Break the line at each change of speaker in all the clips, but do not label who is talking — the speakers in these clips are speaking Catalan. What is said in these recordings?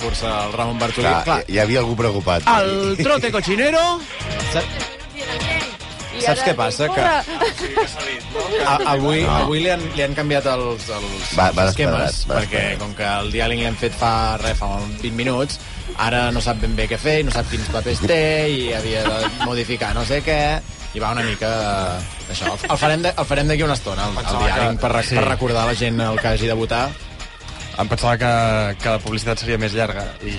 cursa, el Ramon Bartolí.
Clar,
Clar, clar.
hi hi havia algú preocupat.
El trote cochinero...
Saps què passa? Que a, avui, no.
Ah, No.
avui li, han, li han canviat els, els,
Va- va
els esquemes,
despedat, va
perquè
despedat.
com que el diàling l'hem fet fa, res, fa un 20 minuts, ara no sap ben bé què fer, i no sap quins papers té, i havia de modificar no sé què, i va una mica eh, d'això. El, el farem de- el farem d'aquí una estona, el, el
Pensava
diàling,
que-
per, rec-
sí.
per recordar a la gent el que hagi de votar.
Em pensava que, que la publicitat seria més llarga i...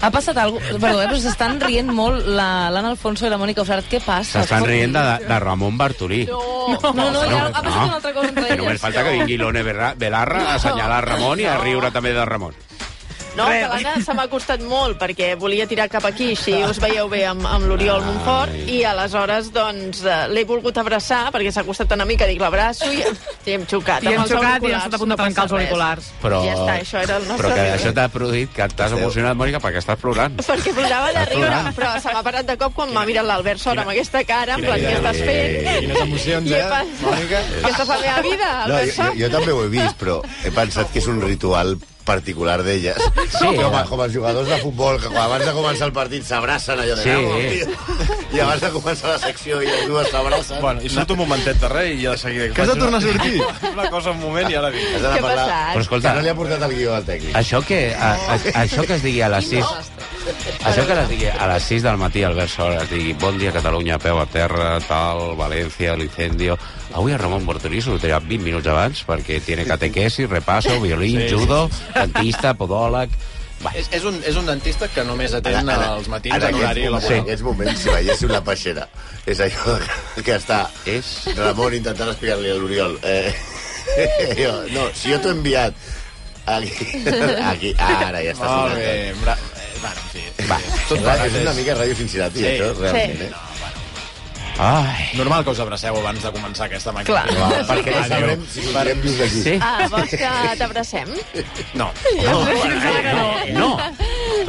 Ha passat alguna cosa... Perdó, eh, però s'estan rient molt la- l'Anna Alfonso i la Mònica Ofrat. Què passa?
S'estan rient de, de Ramon Bartolí.
No, no, no, no, ja ha passat una altra cosa entre
Que
elles.
només falta que vingui l'One Berra- Belarra a assenyalar Ramon i a riure també de Ramon.
No, que l'Anna se m'ha costat molt, perquè volia tirar cap aquí, si us veieu bé amb, amb l'Oriol Montfort, i aleshores, doncs, eh, l'he volgut abraçar, perquè s'ha costat una mica, dic, l'abraço, i, i hem xocat.
I
amb
hem
els
xocat i
auriculars,
hem estat a punt de
no passa
trencar els
res.
auriculars.
Però,
Ja està, això era el nostre
però que
riure.
això t'ha produït que t'has emocionat, Mònica, perquè estàs plorant.
Perquè plorava de
Estàs
riure,
plorant.
però se m'ha parat de cop quan m'ha mirat l'Albert Sora amb aquesta cara, en
quina
plan, què
vida.
estàs fent?
Eh, Quines emocions,
I he
eh,
pensat-
Mònica?
Aquesta és la meva vida,
No,
Albert
jo, jo,
Sora.
jo també ho he vist, però he pensat que és un ritual particular d'elles. Sí. Com, a- com els jugadors de futbol, que quan abans de començar el partit s'abracen allò de
Sí.
sí. I abans de començar la secció i les dues s'abracen.
Bueno, i surt un momentet de rei i ja de seguida...
Que has de tornar a sortir.
Una cosa, un moment i ara vinc.
Has d'anar
Què
a
ha
parlar-
passat?
Però escolta,
Que no li ha portat el guió al tècnic.
Això que, a, a, això que es digui a les 6... Això que es digui a les 6 del matí, Albert Sol, es digui bon dia Catalunya, peu a terra, tal, València, l'incendio... Avui el Ramon Bortolí sortirà 20 minuts abans perquè tiene catequesi, repasso, violín,
Sí, sí,
judo, dentista, podòleg... Va,
És, és, un, és un dentista que només atén
Ara, ara,
els matins
ara,
en horari
moments, En
laboral.
aquests moments, si veiéssiu la peixera, és allò que està
És?
Ramon intentant explicar-li a l'Oriol. Eh, jo, no, si jo t'ho he enviat aquí, aquí, ara ja està
Molt
sonant.
Ah, bé.
tot.
Bra... eh, Bueno, en fi.
Va,
Tot
Ra-
plegat
és una
és-
mica Ràdio Cincinnati,
Sí.
això, realment.
Sí.
Eh?
ai,
Normal que us abraceu abans de començar aquesta màquina.
Però, va, perquè no sabrem si sortirem vius d'aquí.
sí.
Ah, vols que t'abracem?
No.
No, no,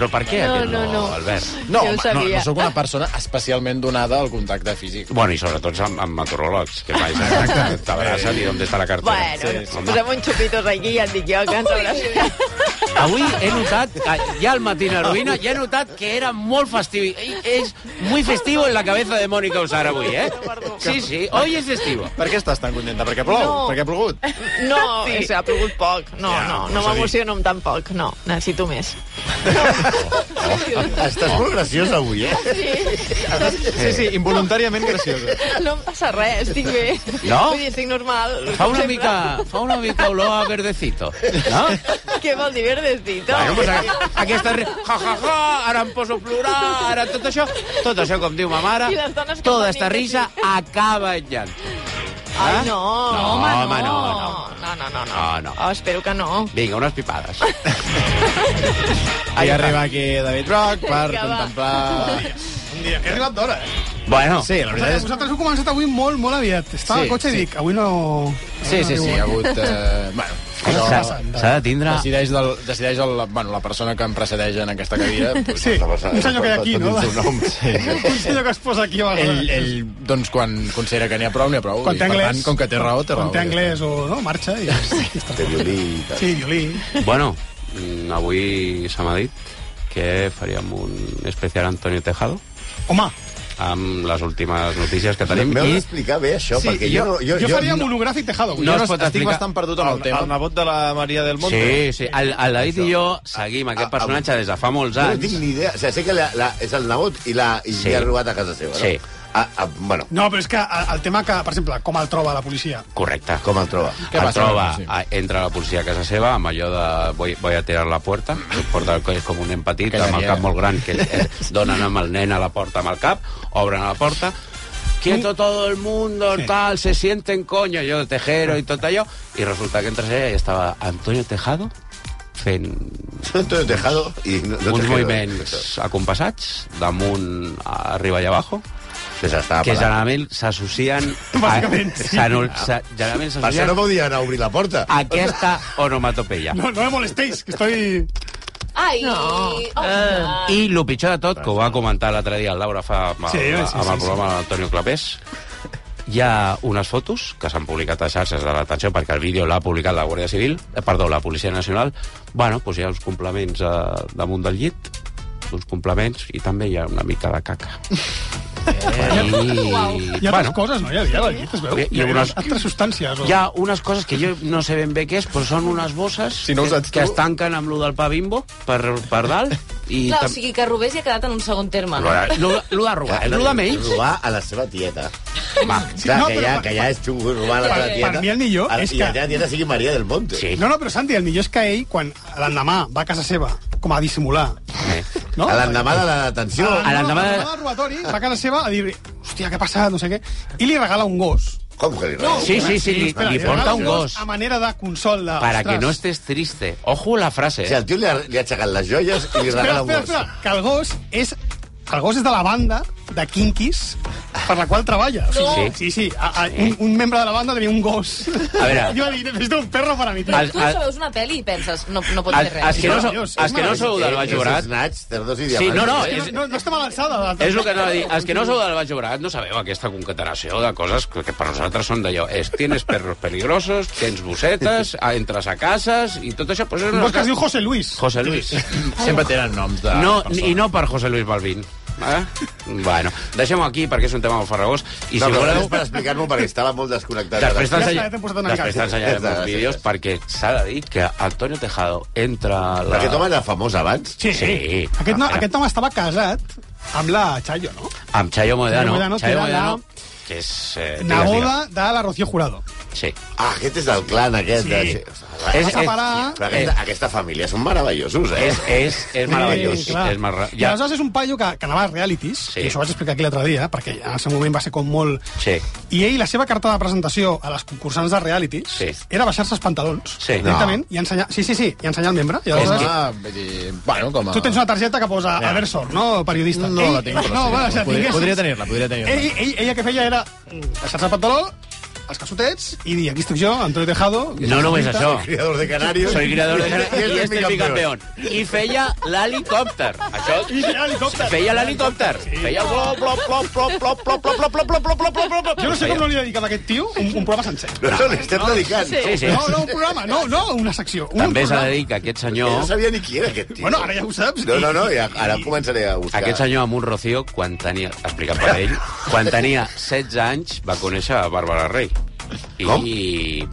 però per què
No,
aquest
no, no.
Albert?
Jo
No,
ho
home, no,
sabia.
no sóc una persona especialment donada al contacte físic.
Bueno, i sobretot amb, amb meteoròlegs, que mai s'abracen, t'abracen i on està la cartera.
Bueno,
Home.
posem un xupitos aquí i et dic jo que ens abracem.
Avui he notat, ah, ja al Matina Heroïna, ja he notat que era molt festiu. És muy festivo en la cabeza de Mónica Usar avui, eh? Sí, sí, hoy es festivo.
Per què estàs tan contenta? Perquè plou?
No.
Perquè ha plogut?
No, sí. ha plogut poc. No,
Ja,
no,
però
no
s'ha dit.
m'emociono amb tan poc. No, necessito més.
Estàs molt graciós avui, eh?
Sí, sí, involuntàriament graciosa.
No em passa res, estic bé.
No?
Vull dir, estic normal.
Fa una
Sempre.
mica, fa una mica olor a verdecito, no?
Què vol dir verdecito?
Bueno, pues a- aquesta... re- Ja, ja, ja, ara em poso a plorar, ara tot això... Tot això, com diu ma mare,
I les dones que
tota
fan
esta risa acaba en llant.
Ai, no.
eh? No, home, no, no.
No, no, no.
No, no.
Oh, espero que no.
Vinga, unes pipades.
I arriba aquí David Brock per
Vinga, va.
contemplar...
Un dia, he arribat d'hora, eh?
Bueno,
Sí, la veritat és...
Vosaltres heu començat avui molt, molt aviat. Estava
Sí,
al cotxe
sí.
i dic, avui no...
Sí, sí, sí, hi ha hagut... Eh, bueno,
s'ha
però
s'ha de tindre...
decideix, del, decideix el, bueno, la persona que em precedeix en aquesta cadira. Doncs,
Sí, un senyor que hi ha aquí,
Tot
no?
el seu nom.
Un senyor que es posa aquí a
ell,
vegades.
ell, doncs, quan considera que n'hi ha prou, n'hi ha prou.
Quan té
I, per
anglès.
tant, com que té raó, té raó.
Quan té anglès o no, marxa i... i està.
Té violí i tal.
Sí, violí.
Bueno, mm, avui se m'ha dit que faríem un especial Antonio Tejado
Home,
amb les últimes notícies que tenim
M'heu
i
d'explicar bé això,
Sí,
perquè jo,
jo-
no... Jo,
jo faria monogràfic tejado avui.
No
Jo
es
no,
pot
estic
explicar-
bastant perdut en el
El,
tema.
el nebot de la Maria del Monte.
Sí, sí, el, el David i jo seguim aquest personatge des de fa molts
Jo no
anys.
tinc ni idea. O sigui, sé que la, la, és el nebot i, la, i
Sí.
sí. ha robat a casa seva, no?
Sí.
A, a, bueno,
No, però és que el el tema que, per exemple, com el troba la policia.
Correcte.
com el troba?
Què
el
passa?
troba,
Sí.
a- entra la policia a casa seva amb allò de voy, voy a tirar la puerta, porta el coll com un nen petit,
Aquella
amb el cap
idea.
molt gran, que eh, donen amb el nen a la porta amb el cap, obren la porta,
Mm.
quieto todo el mundo, tal, se sienten coño, jo de tejero i tot allò, i resulta que entre ella hi estava Antonio Tejado fent
Antonio Tejado i... No, no
uns
Tejero.
moviments acompassats damunt, arriba i abajo,
Que s'estava
que
parlant.
generalment s'associen... a-
Bàsicament, sí.
s'ano- s'ha- Generalment
Per això no
s'associen...
podia anar a obrir la porta.
Ah, Aquesta onomatopeia.
No, no me molestéis, que estoy...
Ai, no.
oh,
Eh, I el pitjor de tot, que ho va comentar l'altre dia el Laura fa amb,
Sí,
sí,
sí,
amb
sí,
el
sí.
programa d'Antonio Clapés, hi ha unes fotos que s'han publicat a xarxes de l'atenció perquè el vídeo l'ha publicat la Guàrdia Civil, eh, perdó, la Policia Nacional. Bueno, doncs hi ha uns complements eh, damunt del llit, uns complements i també hi ha una mica de caca. I...
Hi ha altres coses, no? Hi havia la llit, es veu.
Hi ha- hi ha unes-
altres substàncies. O...
Hi ha unes coses que jo no sé ben bé què és, però són unes bosses
Si no ho
que,
saps tu-
que es tanquen amb lo del pa bimbo per, per dalt. I
Clar,
tam-
o
eh,
sigui que Rubés hi ha quedat en un segon terme. No?
Lo, lo de robar, lo de menys.
Robar a la seva tieta.
Va.
Clar,
no,
que,
però
ja,
per-
que ja és xungo robar a la
per-
teva
per
tieta.
mi el millor
Ara,
és
I la
que-
teva tieta sigui Maria del Monte.
Sí.
No, no, però Santi, el millor és que ell, quan l'endemà va a casa seva, com a dissimular,
Eh.
no?
A l'endemà de la detenció.
A l'endemà de-
del robatori, va a casa seva a dir hòstia, què ha passat, no sé què, i li regala un gos.
Com que li regalo?
Sí, sí, sí, li,
Espera,
li porta
regala
un gos.
A manera de consol de...
Para
"Ostres,
que no estés triste. Ojo la frase. eh.
O sigui, el tio li ha, li ha aixecat les joies i li
Espera,
regala un
espera,
gos.
espera, que el gos és... El gos és de la banda de Kinkis per la qual treballa. O sigui,
Sí.
sí, sí. A, a, un, un membre de la banda tenia un gos.
A veure.
Jo dic, necessito un perro para mi.
Al-
Tu
al-
això veus una pel·li i penses, no, no pot
al-
fer res.
que-
Asqueroso,
Dios, és
Eh,
asqueroso del Baix Llobrat.
És snatch, cerdos i eh?
Sí,
diamants.
no, no,
És,
és,
que no, no estem a l'alçada. de-
és el que anava a dir. Els que no sou del Baix Llobregat no sabeu aquesta concatenació de coses que, que per nosaltres són d'allò. És, tienes perros peligrosos, tens bossetes, a- entres a cases i tot això. Pues és
Un
una...
gos que es diu José Luis.
José Luis.
Sempre tenen noms de
No,
persones.
I no per José Luis Balvin. Eh? Bueno, deixem-ho aquí perquè és un tema molt farragós i
No,
si
però
voleu...
és per explicar-m'ho perquè estava molt desconnectat.
Ja
Després
està,
t'ensenya-
ja t'he posat una mica.
després t'ensenyarem
Gràcies,
els vídeos
gràcies.
perquè s'ha de dir que Antonio Tejado entra... a La...
Perquè Tom era famós abans.
Sí, sí.
Sí.
Aquest, no,
Espera.
aquest home estava casat amb la Chayo, no?
Amb Chayo Modano.
Chayo Moedano, que
Chayo
era
Modano,
la-
que és... Eh, digues,
Nagoda de la Rocío Jurado.
digues. Sí.
Ah, aquest és del clan, aquest.
Sí.
de-
Va
És, és,
separar...
Però aquesta, aquesta família són meravellosos, eh?
Ah. Eh. és, és, és meravellós.
clar.
és marra...
I aleshores és un paio que, que anava a realities,
Sí.
sí. i això ho vaig explicar aquí l'altre dia, perquè en el seu moment va ser com molt...
Sí.
I ell, la seva carta de presentació a les concursants de realities
Sí.
era baixar-se els pantalons
Sí.
directament i ensenyar... Sí, sí, sí, i ensenyar el membre. I
Home,
aleshores...
Ah, vull dir, bueno, com a...
Tu tens una targeta que posa ja. Aversor, no? Periodista.
No
ell,
la tinc, però
No,
sí.
va, si la
Podria-
tinguessis-
podria tenir-la, podria tenir-la.
Ell, ell, ella que feia era deixar-se el pantaló, els calçotets, i dir, aquí estic jo, Antonio Tejado... que
No
soc
només
periodista".
això.
Criador de Canarios.
Soy criador de
I
i
este
este
mi
és mi
campeón.
campeón. I feia l'helicòpter. Això...
I l'helicòpter.
Feia l'helicòpter. Feia el blop, blop, blop, blop, blop, blop, blop, blop, blop, blop, blop, blop, blop.
Jo no sé com no li dediquem a aquest tio un, un programa sencer.
No, no, l'estem dedicant.
Sí, sí.
No, no, un programa, no, no, una secció. Un
També s'ha
programa.
de dir que aquest
Jo no
senyor...
sabia ni qui era aquest tio.
Bueno, ara ja ho saps.
No, no, no, ja, ara començaré a buscar.
Aquest senyor amb un Rocío, quan tenia, explicat per ell, quan tenia 16 anys va conèixer a Bàrbara Rey. I,
Com?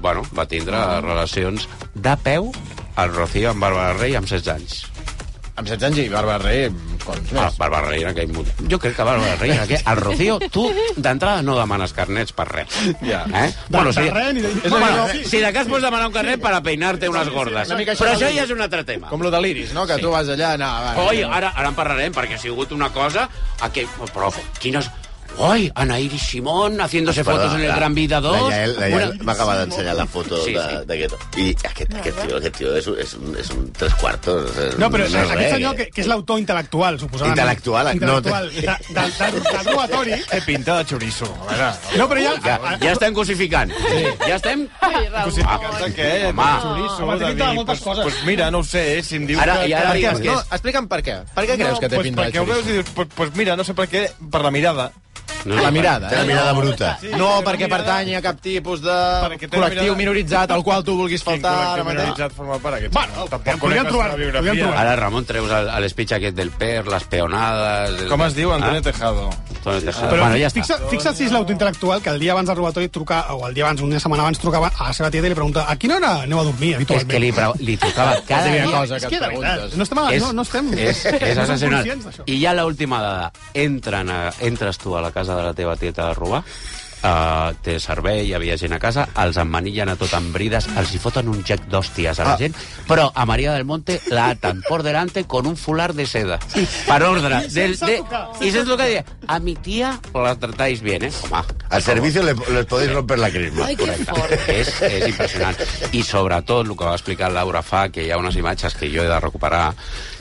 bueno, va tindre relacions de peu al Rocío amb Bàrbara Rey amb 16 anys.
Amb 16 anys i Bàrbara Rey, cons
Ah,
més.
Bàrbara Rey en aquell moment. Jo crec que Bàrbara Rey en aquell... Al Rocío, tu, d'entrada, no demanes carnets per res.
Ja.
Eh?
De- de res ni de-
bueno,
Sí,
si de cas pots demanar un carnet per a peinar-te unes gordes.
una mica això
Però
de-
això ja és un altre tema.
Com lo de l'Iris, no? Que tu vas allà... No, va,
Oi, ara, ara en parlarem, perquè ha sigut una cosa... Aquell, oh, però, quines... Oi, Ana Iris Simón haciéndose
Perdona,
fotos en el
la-
Gran Vida 2.
La Yael, la Yael
Una-
m'acaba d'ensenyar la foto
Sí,
sí,
sí.
sí. d'aquest... I aquest, aquest tio, aquest tio és, un- és, un, és un tres quartos. és un-
No, però no
és
aquest
res,
senyor, que, que és l'autor intel·lectual, suposadament.
Intel·lectual,
Intel·lectual.
no.
No, de, del, del, del robatori.
Té pinta de chorizo. a veure.
No, però ja... Ah,
Ja, Ah, ja estem cosificant. Sí. Ja estem...
Sí,
Ah,
Què?
Home,
Chorizo,
Home, t'he dit ah, de
David,
moltes
pues-
coses.
pues mira, no ho sé, si em dius
Ara-
que-
i ara
que-
digues què
No,
és.
explica'm per què. Per què creus que té
pues
pinta de
perquè ho veus
chorizo?
i dius, pues, pues mira, no sé per què, per la mirada.
no,
La mirada,
Té la
eh?
mirada bruta.
No, perquè pertany a cap tipus de
Perquè té la
col·lectiu
mirada-
minoritzat al qual tu vulguis faltar ara mateix.
Criminalitzat forma part aquest.
Bueno,
senyor.
podríem
conec la
trobar-
seva
podríem
biografia.
trobar.
Ara, Ramon, treus el, el speech aquest del per, les peonades... El...
Com es diu Antonio
Ah?
Tejado?
Antonio Tejada.
Però
Ah, bueno, ja està.
fixa, fixa't si és l'autointel·lectual que el dia abans del robatori truca, o el dia abans, una setmana abans, trucava a la seva tieta i li pregunta a quina hora aneu a dormir
És
habitualment?
que li, pre- li tocava cada
Cada
dia.
cosa
Eh, És
que
que
et
de veritat, no
preguntes.
estem, a,
És,
no, no estem...
és, és
no som
sensacional.
conscients d'això.
I ja l'última dada. Entren a, entres tu a la casa de la teva tieta a robar, Uh, té servei, hi havia gent a casa, els emmanillen a tot amb brides, els hi foten un jack d'hòsties a
Ah.
la gent, però a Maria del Monte la atan por delante con un fular de seda, per ordre.
I
del,
sense tocar,
I sense tocar, dir, a mi tía la tratáis bien, eh? Home,
Al servicio le, les podéis romper la crisma.
Ai, que fort.
és, és impressionant. I sobretot el que va explicar Laura fa, que hi ha unes imatges que jo he de recuperar,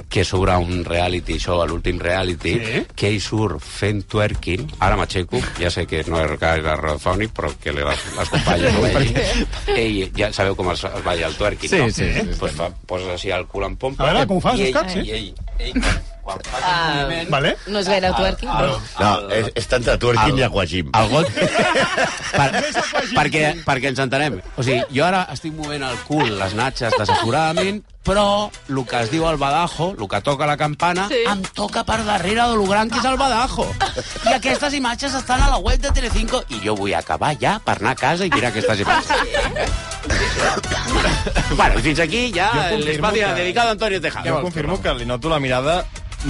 que sobre un reality show, a l'últim reality, sí? que ell surt fent twerking, ara m'aixeco, ja sé que no és gaire radiofònic, però que li- les, les companyes ho vegin. Ell, ja sabeu com es, es balla el twerking,
Sí,
no?
sí, sí, sí.
Pues fa, poses així el cul en pompa.
A veure, com ho fas,
I ell,
Òscar, sí?
I ell, ell, quan,
quan fa compliment...
Vale?
No és gaire twerking,
Ah,
però...
No, és, és tant de twerking i aquagym.
El got... per, perquè, perquè ens entenem. O sigui, jo ara estic movent el cul, les natxes, desaforadament, però el que es diu el badajo, el que toca la campana,
Sí.
sí. em toca per darrere de lo gran que és el badajo. I aquestes imatges estan a la web de Telecinco i jo vull acabar ja per anar a casa i mirar aquestes imatges. bueno, i fins aquí ja
Jo confirmo
l'espai
que-
dedicat a Antonio Tejada.
Jo confirmo que li noto la mirada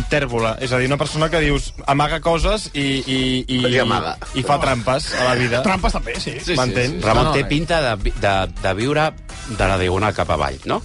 tèrbola, és a dir, una persona que dius amaga coses i, i, i,
Li amaga.
i fa trampes a la vida.
Trampes també, sí. sí.
M'entens?
Ramon
No, no,
té
eh.
pinta de, vi- de, de viure de la diagonal cap avall, no?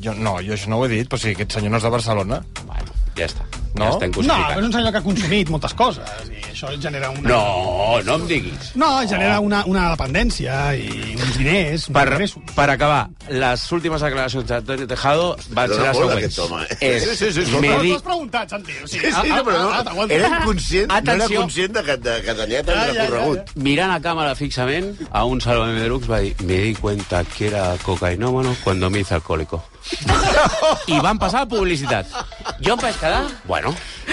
Jo, no, jo això no ho he dit, però sí, aquest senyor no és de Barcelona.
Bueno, ja està.
No?
Ja estem
No, però
cosificant.
és un senyor que ha consumit moltes coses i això genera una...
No, no em diguis.
No, genera una, una dependència i uns diners, uns
Per,
ingressos.
per acabar, les últimes declaracions d'Antonio Tejado van
Dona
ser les
molt,
següents.
aquest home, eh?
És,
Sí, sí, sí, escolta.
me
Però
di...
t'ho has preguntat, Santi. O sigui,
Sí, sí,
ah,
no, però
ah, ah,
no,
t'aguanta.
era inconscient, no era
Atenció.
conscient de que, de, que tenia tant
Ja, ja, ja, ja.
recorregut.
Mirant a cámara fixament, a un salvame de Lux va dir me di cuenta que era cocainómano cuando me hice alcohólico. I van passar a publicitat. Jo em vaig quedar... Bueno,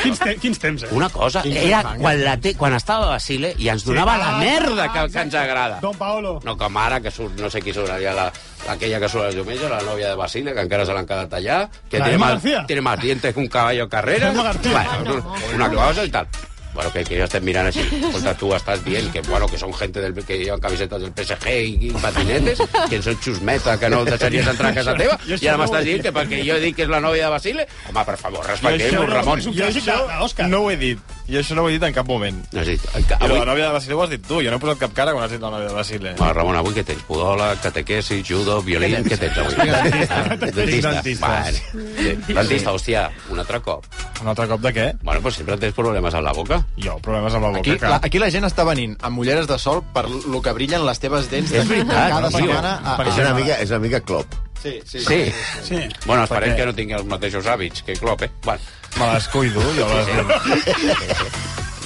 Quins, te quins temps, eh?
una cosa, era quan, la te, quan estava Basile i ens donava
Ah,
la merda que, que
exacte.
ens agrada.
Don Paolo.
No com ara, que surt, no sé qui surt allà, la, aquella que surt el diumenge, la nòvia de Basile, que encara se l'han quedat allà, que
La
tiene
Emma
más,
García.
tiene más dientes que un caballo carrera.
Emma García.
Bueno, una cosa i tal. Bueno, que, que yo estem mirant així. Escolta, tu estàs dient que, bueno, que són gente del, que llevan camisetes del PSG i, i patinetes, que són xusmeta, que no deixaries entrar a casa teva,
Jo això
i ara
no ho
m'estàs
he
dient que perquè jo dic que és la nòvia de Basile... Home, per favor,
Jo
respecteu-nos,
això no-
Ramon.
És un clàssic de- d'Òscar.
No ho he dit. I això no ho he dit en cap moment.
No, sí,
Avui...
avui,
La nòvia de Basile ho has dit tu, jo no he posat cap cara quan has dit la nòvia de Basile.
Va, Ah, Ramon, avui què tens? Podola, catequesi, judo, violí... Què tens avui? Dentista. Dentista.
Dentista.
Vale. Dentista, hòstia, un altre cop.
Un altre cop de què?
Bueno, però sempre tens problemes amb la boca.
Jo, problemes amb la boca.
Aquí
clar.
la, aquí la gent està venint amb ulleres de sol per lo que brillen les teves dents
És veritat,
cada
no,
setmana.
tio.
A,
És
a,
una mica, és una mica clop.
sí, sí, sí.
Sí.
Sí.
Bueno, esperem
Perquè-
que no tingui els mateixos hàbits que Klopp, eh? Bueno,
Me les cuido, jo les...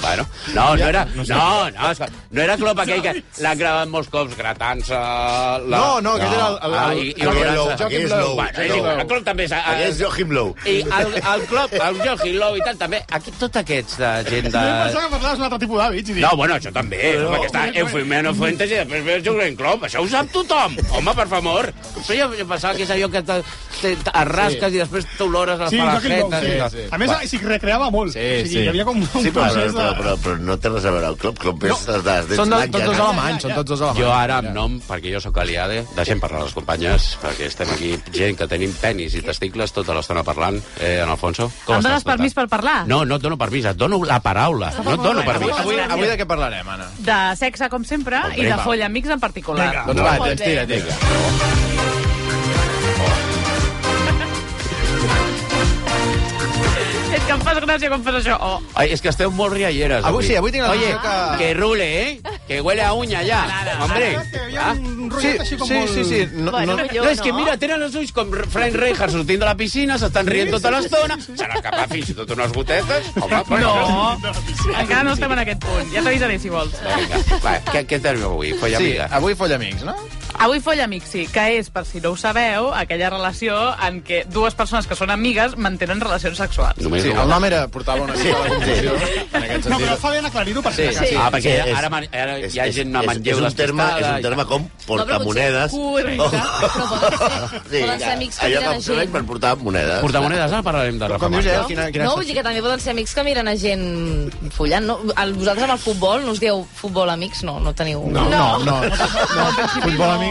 bueno. No, no era... No, no, escolta, no era Klopp aquell que l'han gravat molts cops gratant-se... La...
No, no, aquest era el- el-
Ah,
el-
i, i
el-
olvidant-se.
Lowe,
Joaquim
Bueno,
Lowe.
és
Lowe.
igual, el Klopp també... s'ha-
Aquest és Joachim Low.
I el, el Klopp, el Jogi Lowe i tal, també... Aquí, tot aquests de gent de...
Jo pensava que parlaves d'un altre tipus d'hàbits i dic...
No, bueno, això també. No, home, que està Eufimeno Fuentes i després ve el Jurgen Klopp. Això ho sap tothom. Home, per favor. Això jo, jo pensava que és allò que te, te, te arrasques sí. i després t'olores les
Sí, Joaquim Bou,
palafretes.
sí.
sí, sí.
A més, s'hi recreava molt.
Sí,
o sigui,
sí.
Hi havia com un
Sí, però, però,
procés de...
però, però, però no té res a veure el clop. Clop és no. les dents
Són de, tots dos
blanques.
alemanys, són tots dos alemanys.
Jo ara, amb nom, perquè jo sóc aliade, deixem parlar les companyes, perquè estem aquí gent que tenim penis i testicles tota l'estona parlant. Eh, en Alfonso, com
Em dones
estàs? Tota-
permís per parlar?
No, no et dono permís, et dono la paraula. No et dono
Avui,
permís.
avui, avui de què parlarem, Anna?
De sexe, com sempre,
Hombre,
i de
va.
folla amics en particular.
Vinga.
Doncs va, tens, tira, tira.
És que em fas gràcia quan fas això. Oh.
Ai, és que esteu molt rialleres.
Avui sí, avui tinc la
Oye,
sensació que-
que rule, eh? Que huele a uña ja. Hombre.
Que hi havia
Ah.
un
Sí,
rotllet així com
sí,
molt...
sí, sí. No,
Bueno,
no,
jo
no, és que
no.
mira, tenen els ulls com Frank Reinhardt sortint de la piscina, s'estan rient tota l'estona, se n'acaba fins i tot unes gotetes. Home, per favor.
No, encara no estem en aquest punt. Ja t'avisaré, si vols.
Vinga, va, què, què tenim avui? Folla
sí,
amiga.
avui folla amics, no?
Avui folla amics, sí, que és, per si no ho sabeu, aquella relació en què dues persones que són amigues mantenen relacions sexuals.
Només
Sí,
una.
el nom era portava una mica a la confusió, en aquest
No, però
sentit.
fa bé en aclarir-ho per si
Sí,
de cas.
sí.
Ah, perquè
Sí, és-
ara, man- ara
És-
hi ha
és-
gent amb
és-
manlleu
és un terme, és un terme com portamonedes.
No, però potser-
Oh.
Correcte. Poden ser amics que
allò
miren
que
a
em sembla
gent.
per portar monedes.
Portamonedes, ara parlarem de Rafa
Com dius, eh?
Márquez.
Quina, quina
No, vull dir que també poden ser amics que miren a gent follant, no? El- Vosaltres amb el futbol no us dieu futbol amics? No, no teniu...
No, no, no. no. Futbol amics.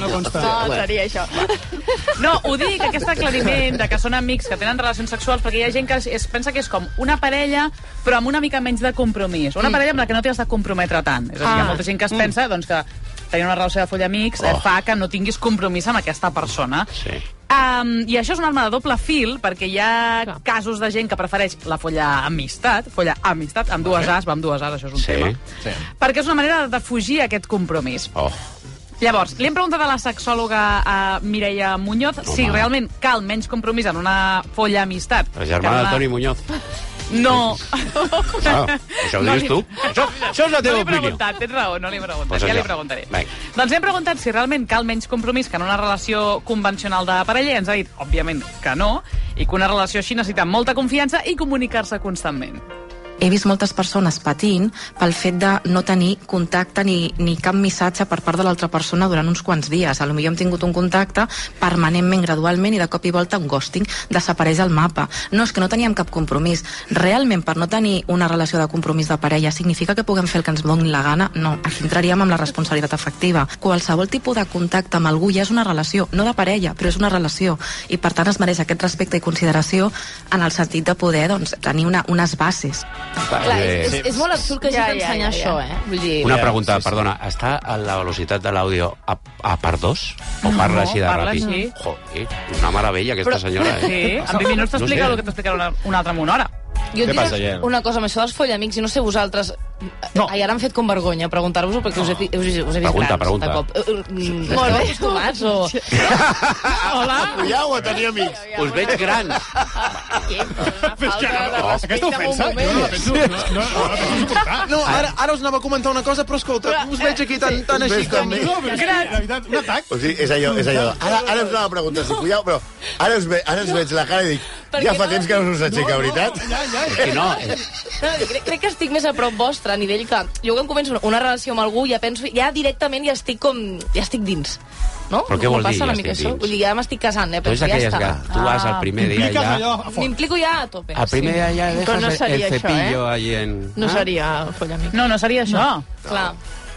No consta.
No, seria això.
No, ho dic, aquest aclariment de que són amics que tenen relacions sexuals, perquè hi ha gent que es, es pensa que és com una parella, però amb una mica menys de compromís.
Mm.
Una parella amb la que no t'has de comprometre tant. És a dir, hi ha
Ah.
molta gent que es pensa doncs, que tenir una relació de folla amics eh,
Oh.
fa que no tinguis compromís amb aquesta persona.
Sí.
Um, I això és una arma de doble fil, perquè hi ha casos de gent que prefereix la folla amistat, folla amistat, amb dues as, va amb dues as, això és un
Sí.
tema,
Sí.
perquè és una manera de fugir aquest compromís.
Oh,
Llavors, li hem preguntat a la sexòloga eh, Mireia Muñoz si realment cal menys compromís en una folla amistat.
la
que en
germana
una-
de Toni Muñoz.
No.
Ah, això ho
No
dius
li-
tu? Això, això és la teva
no l'he
opinió.
preguntat, tens raó, no l'he preguntat,
Pues
ja
allò.
l'hi preguntaré.
Vinga.
Doncs hem preguntat si realment cal menys compromís que en una relació convencional de parella, i ens ha dit, òbviament, que no, i que una relació així necessita molta confiança i comunicar-se constantment.
he vist moltes persones patint pel fet de no tenir contacte ni, ni cap missatge per part de l'altra persona durant uns quants dies. A lo millor hem tingut un contacte permanentment, gradualment, i de cop i volta un ghosting desapareix el mapa. No, és que no teníem cap compromís. Realment, per no tenir una relació de compromís de parella, significa que puguem fer el que ens doni la gana? No, aquí entraríem amb la responsabilitat afectiva. Qualsevol tipus de contacte amb algú ja és una relació, no de parella, però és una relació, i per tant es mereix aquest respecte i consideració en el sentit de poder doncs, tenir una, unes bases.
Clar, és,
Eh,
és, és molt absurd que hagi
Ja, ja,
d'ensenyar
ja, ja.
això, eh? Vull dir...
Una
Ja,
pregunta,
sí, sí.
perdona. Està a la velocitat de l'àudio a, a per dos? O parla així de
parla
ràpid?
així.
Joder, una meravella aquesta senyora, eh?
Sí, en 20 minuts t'explica
No sé.
el que t'explicarà una, una altra en una hora.
Jo et
Què passa,
diré
Jen?
una cosa amb això dels follamics, i no sé vosaltres...
No.
No. Ai, ara m'hem fet com vergonya preguntar-vos-ho, perquè us he, fi- us, he- us he vist
Pregunta,
grans,
pregunta.
de cop. Eh, mm, Molt
Molt bé.
bé. Acostumats, o...
Hola!
Ja ho tenia amics.
Us veig grans.
Aquesta ofensa, jo no la penso, no, no, no la penso suportar.
No, ara, ara us anava a comentar una cosa, però escolta, us veig aquí
eh,
tan, tan
us
així.
veig
Tan...
també.
No, però és que, la veritat, un atac.
O sigui, és allò, és allò. de, Ara, ara us anava a preguntar si colleu, però ara us, ve, ara us veig la cara i dic, ja fa temps que no us aixeca, veritat?
Ja, ja,
Que no, eh,
No, crec, crec que estic més a prop vostre, a nivell que... Jo quan començo una- una relació amb algú ja penso... Ja directament ja estic com... Ja estic dins. No?
Però què
Em
vol dir,
passa una
ja
mica
estic
això?
dins?
Vull dir, ja m'estic casant, eh?
tu és
Penso, ja
aquelles
està.
que tu vas al primer dia
Impliques allò
ja...
a fons.
M'implico ja a tope.
Al primer dia ja
Però
dejas
no
el
seria això,
cepillo ahí en...
No
Ah?
seria follamic.
No, no seria això. No.
Sí, clar.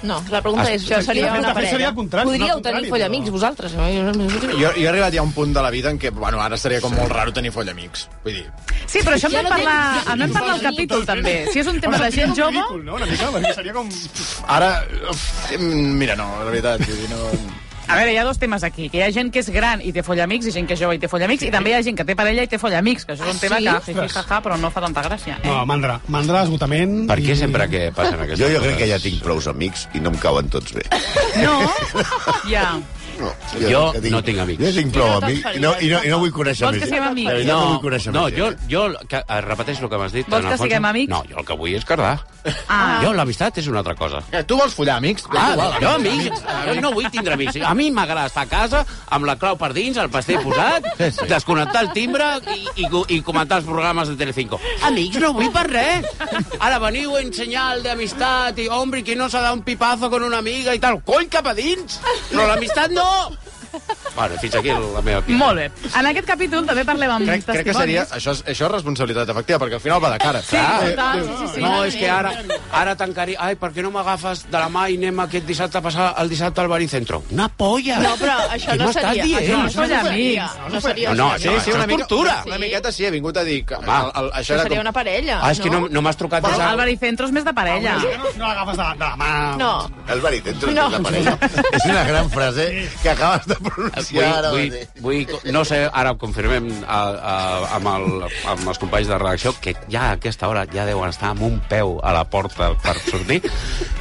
No.
La pregunta és...
Això seria
quina
una
pregunta
parella.
Seria el contrari, no
Podríeu
el contrari,
tenir follamics,
però-
vosaltres? No? Jo, no- jo,
Jo, jo he arribat ja a un punt de la vida en què, bueno, ara seria com molt raro tenir follamics. Vull dir,
Sí, però això en
Ja
vam
no
parlar,
tens-
en vam parlar al capítol, també. Si és un tema de gent jove...
Ridícul, no? Una mica, perquè seria com...
ara... Uf, mira, no, la veritat, vull dir, no...
A veure, hi ha dos temes aquí, que hi ha gent que és gran i té follamics, i gent que és jove i té follamics, i també hi ha gent que té parella i té follamics, que això és un tema
sí?
que jiji, jaja, però no fa tanta gràcia. Eh?
No, mandra. Mandra, esgotament...
Per què
i-
sempre que passen aquestes
Jo, jo crec que ja
coses?
tinc prous amics i no em cauen tots bé.
No? Ja.
No,
Jo
que
no tinc amics.
Jo tinc prou
Jo no te'n
amics
faria,
i no, i no, i no vull
Vols
conèixer
que
més.
siguem amics?
De veritat, no, vull conèixer
no,
més.
jo, jo que, eh, repeteix el que m'has dit.
Vols
en
que
el fons-
siguem amics?
No, jo el que vull és cardar.
Ah.
Jo, l'amistat és una altra cosa.
Eh, Tu vols follar, amics?
Ah,
Igual,
jo amics, jo no vull tindre amics. A mi m'agrada estar a casa, amb la clau per dins, el paster posat, desconnectar el timbre i, i, co- i comentar els programes de Telecinco. Amics no vull per res. Ara veniu en senyal d'amistat i, hombre, qui no s'ha dado un pipazo con una amiga i tal. Cony, cap a dins! Però l'amistat no! Bueno, fins aquí la meva opinió.
Molt bé. En aquest capítol també parlem amb
Crec, crec que seria... Això és, això és responsabilitat efectiva, perquè al final va de cara. Ah.
Sí, total, sí, sí, sí.
No, és que ara, ara tancaria... Ai, per què no m'agafes de la mà i anem aquest dissabte a passar el dissabte al baricentro? Una polla!
No, però això
Què
no
m'estàs
seria...
dient?
Això,
Això
no
és
seria.
amics.
No seria...
No, no,
això.
això,
sí,
això
una
és
mica-
tortura.
Una miqueta sí, he vingut a dir... Que, el,
Home.
el, això
Això
era
seria
com...
una parella,
Ah, és que no, no m'has trucat des
Bon, el
de...
baricentro és més de parella.
No, no l'agafes de, de la mà...
No.
El barit, entra
No.
no. tota la parella. És una gran frase que acabes
Eh,
de
Vull,
pronunciar ara
vull,
mateix.
vull, co- no sé, ara ho confirmem a, a, amb, el, amb els companys de redacció que ja a aquesta hora ja deuen estar amb un peu a la porta per sortir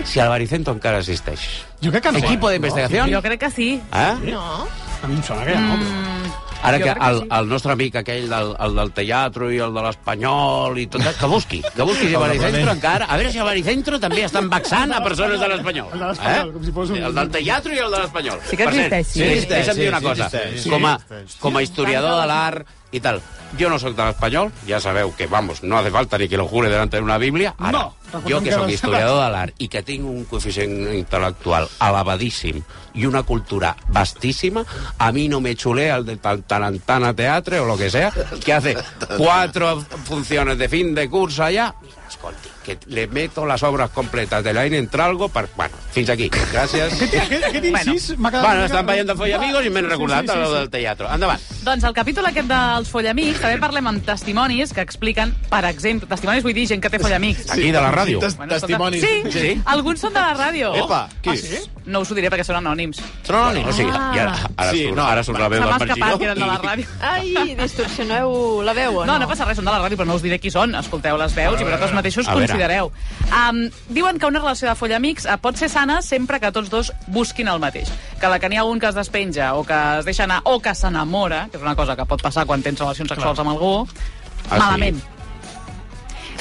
si el baricentro encara existeix.
Jo crec que no.
Equipo de investigación?
Jo crec que sí.
Eh?
No.
A mi em sona que ja no,
Mm.
però...
Ara
Jo
que
crec que
el,
sí.
el nostre amic aquell del, el del teatre i el de l'Espanyol i tot, que busqui, que busqui si el Baricentro encara... A veure si el Baricentro també estan vexant a persones de l'Espanyol. Eh?
El de l'Espanyol, com si fos un-
El del teatre i el de l'Espanyol.
Sí que
Per cert,
existeix, sí.
sí,
Existeix,
Deixa'm dir una
sí,
cosa.
existeix, sí.
Com a, com a historiador de l'art i tal, jo no sóc de l'Espanyol, ja sabeu que, vamos, no hace falta ni que lo jure delante de una Bíblia. Ara,
No, recordem
jo que
que
sóc
les-
historiador de l'art i que tinc un coeficient intel·lectual elevadíssim i una cultura vastíssima, a mi no me chulea el de tal- Tarantana Teatre o lo que sea, que hace cuatro funciones de fin de curso allá. Mira, escolti, que le meto las obras completas de Lain en Tralgo per... Bueno, fins aquí. Gràcies.
Aquest, aquest, aquest incís m'ha quedat...
Bueno, estan veient de foll
Ah,
amigos i m'he recordat sí, sí, sí, del teatre. Endavant.
Doncs al capítol aquest dels follamics també parlem amb testimonis que expliquen, per exemple, testimonis vull dir gent que té follamics.
Aquí, de la ràdio.
Tes-
Bueno, escolta-
Testimonis.
Sí, sí,
Sí.
alguns són de la ràdio.
Epa, qui?
No us ho diré perquè són anònims.
Trononi. O sigui, i ara, ara,
Sí,
surt,
no,
ara surt la
Se
veu
m'ha
del
escapat que
Marginó.
eren de la ràdio.
Ai, distorsioneu la veu o no?
No, no passa res, són de la ràdio, però no us diré qui són. Escolteu les veus i vosaltres mateixos
A veure.
considereu. Um, diuen que una relació de follamics eh, pot ser sana sempre que tots dos busquin el mateix. Que la que n'hi ha un que es despenja o que es deixa anar o que s'enamora, que és una cosa que pot passar quan tens relacions sexuals amb algú,
Ah, sí?
malament.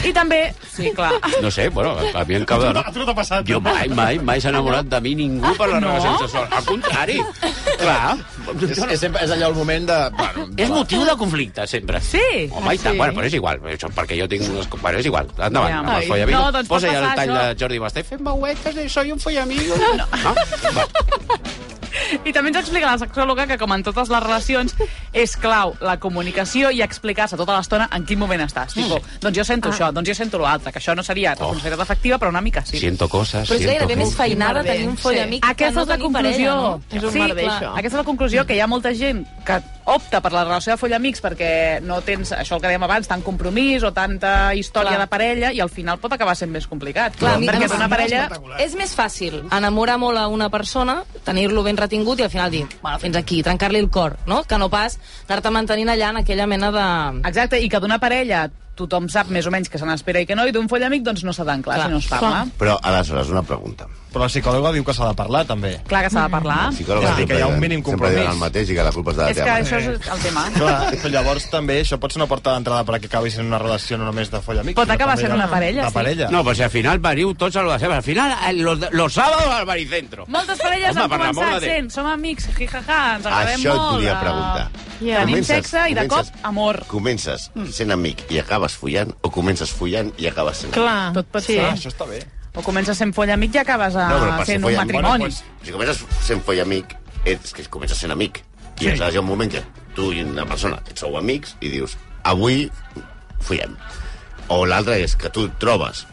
I també... Sí, clar.
No sé, bueno, a mi em cau de...
A tu no t'ha passat.
Jo mai, mai, mai s'ha enamorat de mi ningú per les
No?
relacions sexuals. Al contrari, clar.
És, és, sempre, és allò el moment de... Bueno,
És motiu de conflicte, sempre.
Sí.
Home, i tant.
Sí.
Bueno, però és igual, això, perquè jo tinc unes... Bueno, és igual, endavant.
Ja.
amb el
Ai.
follavigo.
No, doncs pot
Posa ja el
passar,
tall
això.
de Jordi Basté, fent veuetes, de soy un follamigo. No. Ah?
I també ens explica la sexòloga que, com en totes les relacions, és clau la comunicació i explicar-se tota l'estona en quin moment estàs. Tipo,
Mm.
doncs jo
Ah.
sento això, doncs jo sento l'altre, que això no seria
Oh.
responsabilitat efectiva, però una mica sí.
Siento coses,
Però és
siento
gairebé més
cosas.
feinada
merder,
tenir un
sí.
follamic que
Aquesta
no
és la
tenir
conclusió.
parella, no?
És un merder,
clar.
això.
Aquesta és la conclusió, que hi ha molta gent que opta per la relació de follamics perquè no tens, això el que dèiem abans, tant compromís o tanta història
Clar.
de parella i al final pot acabar sent més complicat.
Clar, a mi-
perquè
a mi-
d'una parella...
És més fàcil enamorar molt a una persona, tenir-lo ben retingut i al final dir, bueno, fins aquí, trencar-li el cor, no? Que no pas anar-te mantenint allà en aquella mena de...
Exacte, i que d'una parella tothom sap més o menys que se n'espera i que no, i d'un follamic doncs no s'ha tan clar,
Clar.
si no es parla.
Però, aleshores, una pregunta.
Però la psicòloga diu que s'ha de parlar, també.
Clar que s'ha de parlar.
Els psicòlegs
Clar, que hi ha un
diuen-
mínim
sempre diuen el
compromís.
mateix i que la culpa és de la
és
teva
que
mare.
això és el tema.
Clar, però llavors també això pot ser una porta d'entrada perquè acabi sent una relació no només de follamic.
Pot
sinó
acabar
també
sent
de-
una parella,
De
sí.
parella.
No, pues si al final veniu tots a lo de sempre. Al final, eh, los, los sábados al baricentro.
Moltes parelles
Home,
han
per l'amor
començat
de Déu.
sent, som amics, jijaja, ens agradem
Això et
molt.
volia
eh,
preguntar.
Tenim
Comences-
sexe i de
comences-
cop, amor.
Comences sent amic i acabes follant, o comences follant i acabes sent amic?
Clar.
Tot pot
sí.
ser.
Ah, això està bé.
O comences sent follamic i acabes a,
No, però per ser
sent un
follamic,
matrimoni.
bueno,
Si comences sent follamig, és que comences sent amic. I sí. hi ha un moment que tu i una persona et sou amics i dius, avui follem. O l'altre és que tu et trobes,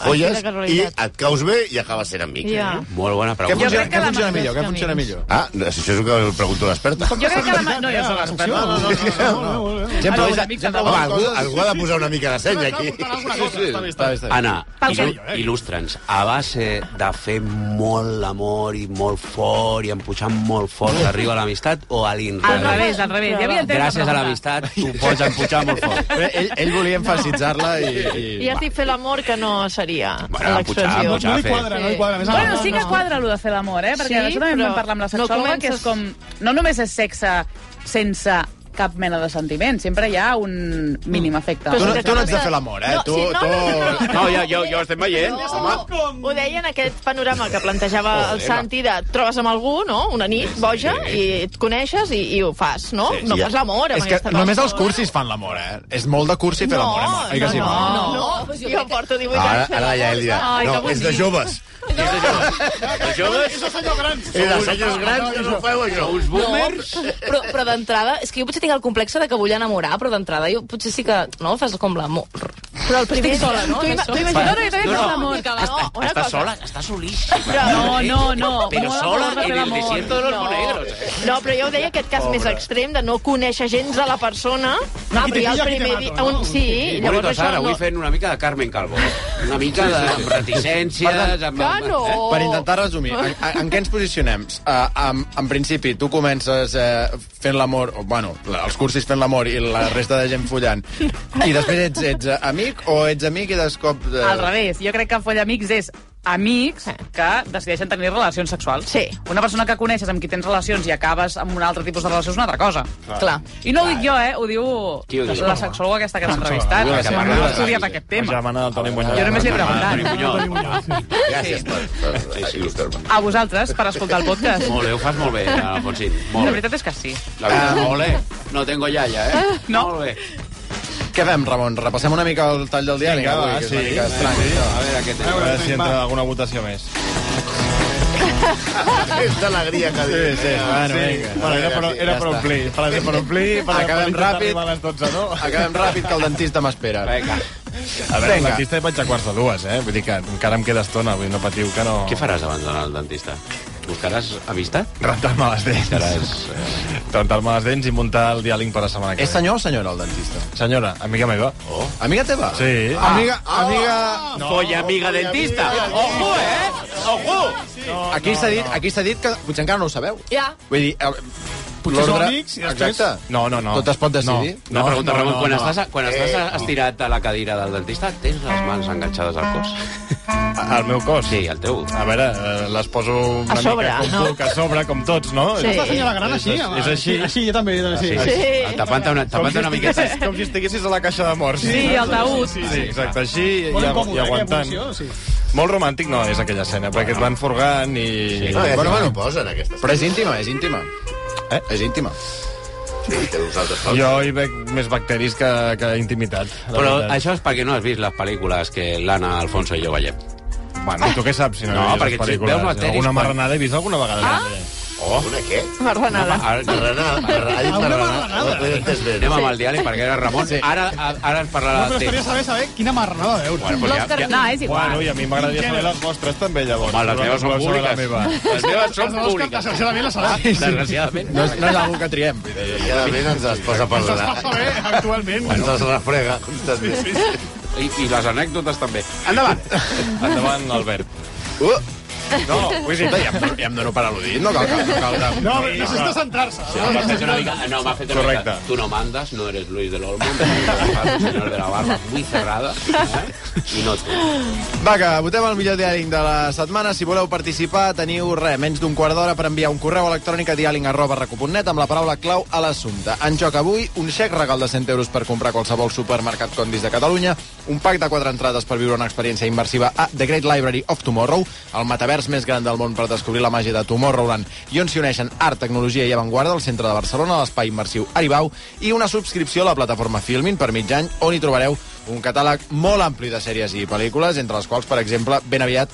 folles
quina
i
casualitat.
et caus bé i acabes sent amic.
Ja.
Molt bona
Què
pregunta.
funciona,
crec que
què
la
funciona
manera
millor? Què
dels
funciona
camins.
millor?
Ah, no, si això és el que el pregunto a l'experta.
Jo crec que la... ma- No, jo sóc expert.
No, no, no, no, no, no, no, no.
Ara,
Sempre,
una
sempre,
mica
sempre,
Home, algú, algú ha de posar una mica de seny aquí.
Està bé, està bé.
Anna,
Pel
il·lu
que-
il·lustra'ns. A base de fer molt l'amor i molt fort i empujar molt fort arriba l'amistat o a
Al
l'inrevés?
revés, al revés. Ja havia entès
Gràcies a
pregunta.
l'amistat tu pots empujar molt fort.
Però Ell, ell volia enfatitzar-la i... i...
I ja estic fent l'amor que no seria
Bueno, pujar,
l'expressió.
pujar,
No li
fer.
quadra, no li quadra. Més a
Bueno,
la-
sí que quadra allò de fer l'amor, eh? Perquè
Sí,
això també en
però
vam parlar amb la
no
sexòloga,
comences-
que és com... No només és sexe sense cap mena de sentiment, sempre hi ha un mínim efecte.
Tu,
Però
no,
si
tu no ets de
t'acabes
fer
de-
l'amor, eh?
No,
tu,
sí, no,
tu...
no,
No, jo, jo, jo estem veient. Home,
Ho deia en aquest panorama que plantejava el Santi de trobes amb algú, no?, una nit, boja, i et coneixes i, i ho fas, no? no
ja.
fas l'amor amb
És que
aquesta
només
persona.
els cursis fan l'amor, eh? És molt de cursi fer l'amor, eh? Oi que sí,
no,
Marc?
no, no,
No,
no,
pues jo
jo
crec que-
porto 18
Ara,
anys.
ara ja ell dirà,
Ai, que
no, és de
bonic.
joves.
els joves...
És de senyors grans que no feu això.
Uns boomers...
No, però, però d'entrada, és que jo potser tinc el complex de que vull enamorar, però d'entrada jo potser sí que, no, fas com l'amor. Però el primer... Estic sola, no?
Tu ima- tu imagina-
No, no, jo també
No, no.
faig l'amor.
No, una
Estàs
cosa.
sola, estàs solíssima. Eh?
No, no, no.
Però
Molt
sola
amor de
en
fer
el
l'amor.
desierto de los
No.
monegros. eh?
No, però jo ho deia aquest cas més extrem de no conèixer gens a la persona. Ah, No,
qui te pilla, qui te
dia...
mato, no?
Un... Sí,
Bueno,
llavors
doncs ara,
això
avui
no...
fent una mica de Carmen Calvo. Una mica de amb reticències... Amb...
Que no!
Eh?
Per intentar resumir, en, en- en què ens posicionem? Uh, en, en principi, tu comences uh, fent l'amor, o, bueno, la- els cursis fent l'amor i la resta de gent follant, i després ets, ets eh, amic o ets amic i de cop... Uh,
Al revés, jo crec que follamics és amics que decideixen tenir relacions sexuals.
Sí.
Una persona que coneixes amb qui tens relacions i acabes amb un altre tipus de relació és una altra cosa.
Clar.
I no ho dic jo, eh? Ho diu
Qui ho diu?
la sexòloga aquesta que hem entrevistat,
La
que
sexòloga.
ha estudiat aquest
La
Em
tema.
germana del Toni Muñoz.
Jo només li he
Toni
preguntat.
Muñoz.
Gràcies per, per il·lustrar-me.
A vosaltres, per escoltar el podcast.
Eh? Molt bé, ho fas molt bé, Alfonsín.
La
Molt bé.
veritat és que sí.
La veritat, molt bé. No tengo yaya, eh?
No.
Molt bé.
Què fem, Ramon? Repassem una mica el tall del diari?
Vinga, va,
avui, que és una
sí.
mica estrany,
Sí, sí.
això.
A veure què
A
tenim.
veure si entra alguna votació més.
És d'alegria que dius.
sí, bueno, vinga.
Ah, Bueno, era per, era per omplir. Per, per omplir, per,
Acabem
per
ràpid.
arribar A les 12, no?
Acabem ràpid, que el dentista m'espera.
Vinga.
A veure,
Vinga.
Venga. l'artista hi vaig a quarts de dues, eh? Vull dir que encara em queda estona, vull dir, no patiu, que no...
Què faràs abans d'anar al dentista? Buscaràs amistat?
Rentar-me les dents.
Buscaràs... eh,
Rentar-me les dents i muntar el diàleg per la setmana que
És senyor o senyora, el dentista?
Senyora, amiga meva. Oh.
Amiga teva? Ah.
Sí.
Amiga, amiga...
No, Folla amiga dentista. Ojo, eh? Ojo!
Aquí s'ha dit, aquí s'ha dit que potser encara no ho sabeu.
Ja.
Vull dir, eh,
Potser són
L'ordre-
amics i després...
Exacte.
No, no, no.
Tot es pot decidir?
No.
Una pregunta, Ramon, quan,
no.
estàs, quan estàs estirat a la cadira del dentista, tens les mans enganxades al cos?
El meu cos?
Sí, el teu.
A veure, eh, les poso una
A sobre,
mica com
no?
puc, a sobre, com tots, no?
Sí.
És la senyora gran,
És-
així?
és- és així.
Així, jo també. Jo també sí.
Sí.
sí.
Sí.
Tapant-te una,
Com
tapant
si,
una miqueta...
estiguessis, com si estiguessis a la caixa de morts.
Sí, el taüt.
Sí, sí, exacte, així i,
Molt
agu-
incòmode,
i
eh,
aguantant.
posició, sí.
Molt romàntic no és aquella escena, perquè et van forgant i... Sí.
No,
Bueno,
bueno,
bueno.
bueno. posen aquesta
Però és íntima, és íntima. Eh? És íntima.
Sí, té uns altres
Jo hi veig més bacteris que, que intimitat. la
Però
veritat.
això és perquè no has vist les pel·lícules que l'Anna Alfonso i jo veiem.
Bueno, i tu què saps? Si no,
No,
no
perquè
perquè
si
pel·lícules?
veus bacteris,
Alguna
quan-
marranada he vist alguna vegada. Ah?
Oh. Una què?
Marranada.
Ara, anem
Marranada. Marranada. Ha dit
Una
marranada.
marranada.
No l'he entès bé, no?
amb el diàleg, perquè era Ramon.
Sí.
Ara, a- ara ens parlarà
No, però
del
estaria
temps.
saber, saber quina ¿eh? marranada de veure.
Ah, Bueno, doncs ja, ja,
No, és igual.
Bueno, i a mi m'agradaria saber les vostres també, llavors.
Home, les
Però
meves són
qualsevol de la
públiques.
meva.
les meves són públiques.
Desgraciadament la serà.
Desgraciadament.
No és, no és algo que triem.
Cada vegada ens les posa per
Se'ls
la...
passa bé, actualment.
Ens les refrega constantment. Sí, sí, sí.
I, I les anècdotes també.
Endavant.
Endavant, Albert.
Uh. No, vull dir, ja, em- ja em dono per al·ludit, no cal, cal, cal, cal
No, però necessita centrar-se.
M'ha fet una mica... No, m'ha fet una
Correcte.
mica... Tu no mandas, no eres Luis del Olmo, el senyor de la barba muy cerrada, eh? i no tu.
Va, que votem el millor diàling de la setmana. Si voleu participar, teniu res, menys d'un quart d'hora per enviar un correu electrònic a diàling arroba recu.net amb la paraula clau a l'assumpte. En joc avui, un xec regal de 100 euros per comprar a qualsevol supermercat Condis de Catalunya, un pack de quatre entrades per viure una experiència immersiva a The Great Library of Tomorrow, el metavers més gran del món per descobrir la màgia de Tomorrowland, i on s'hi uneixen art, tecnologia i avantguarda al centre de Barcelona, a l'espai immersiu Aribau, i una subscripció a la plataforma Filmin per mig any, on hi trobareu un catàleg molt ampli de sèries i pel·lícules, entre les quals, per exemple, ben aviat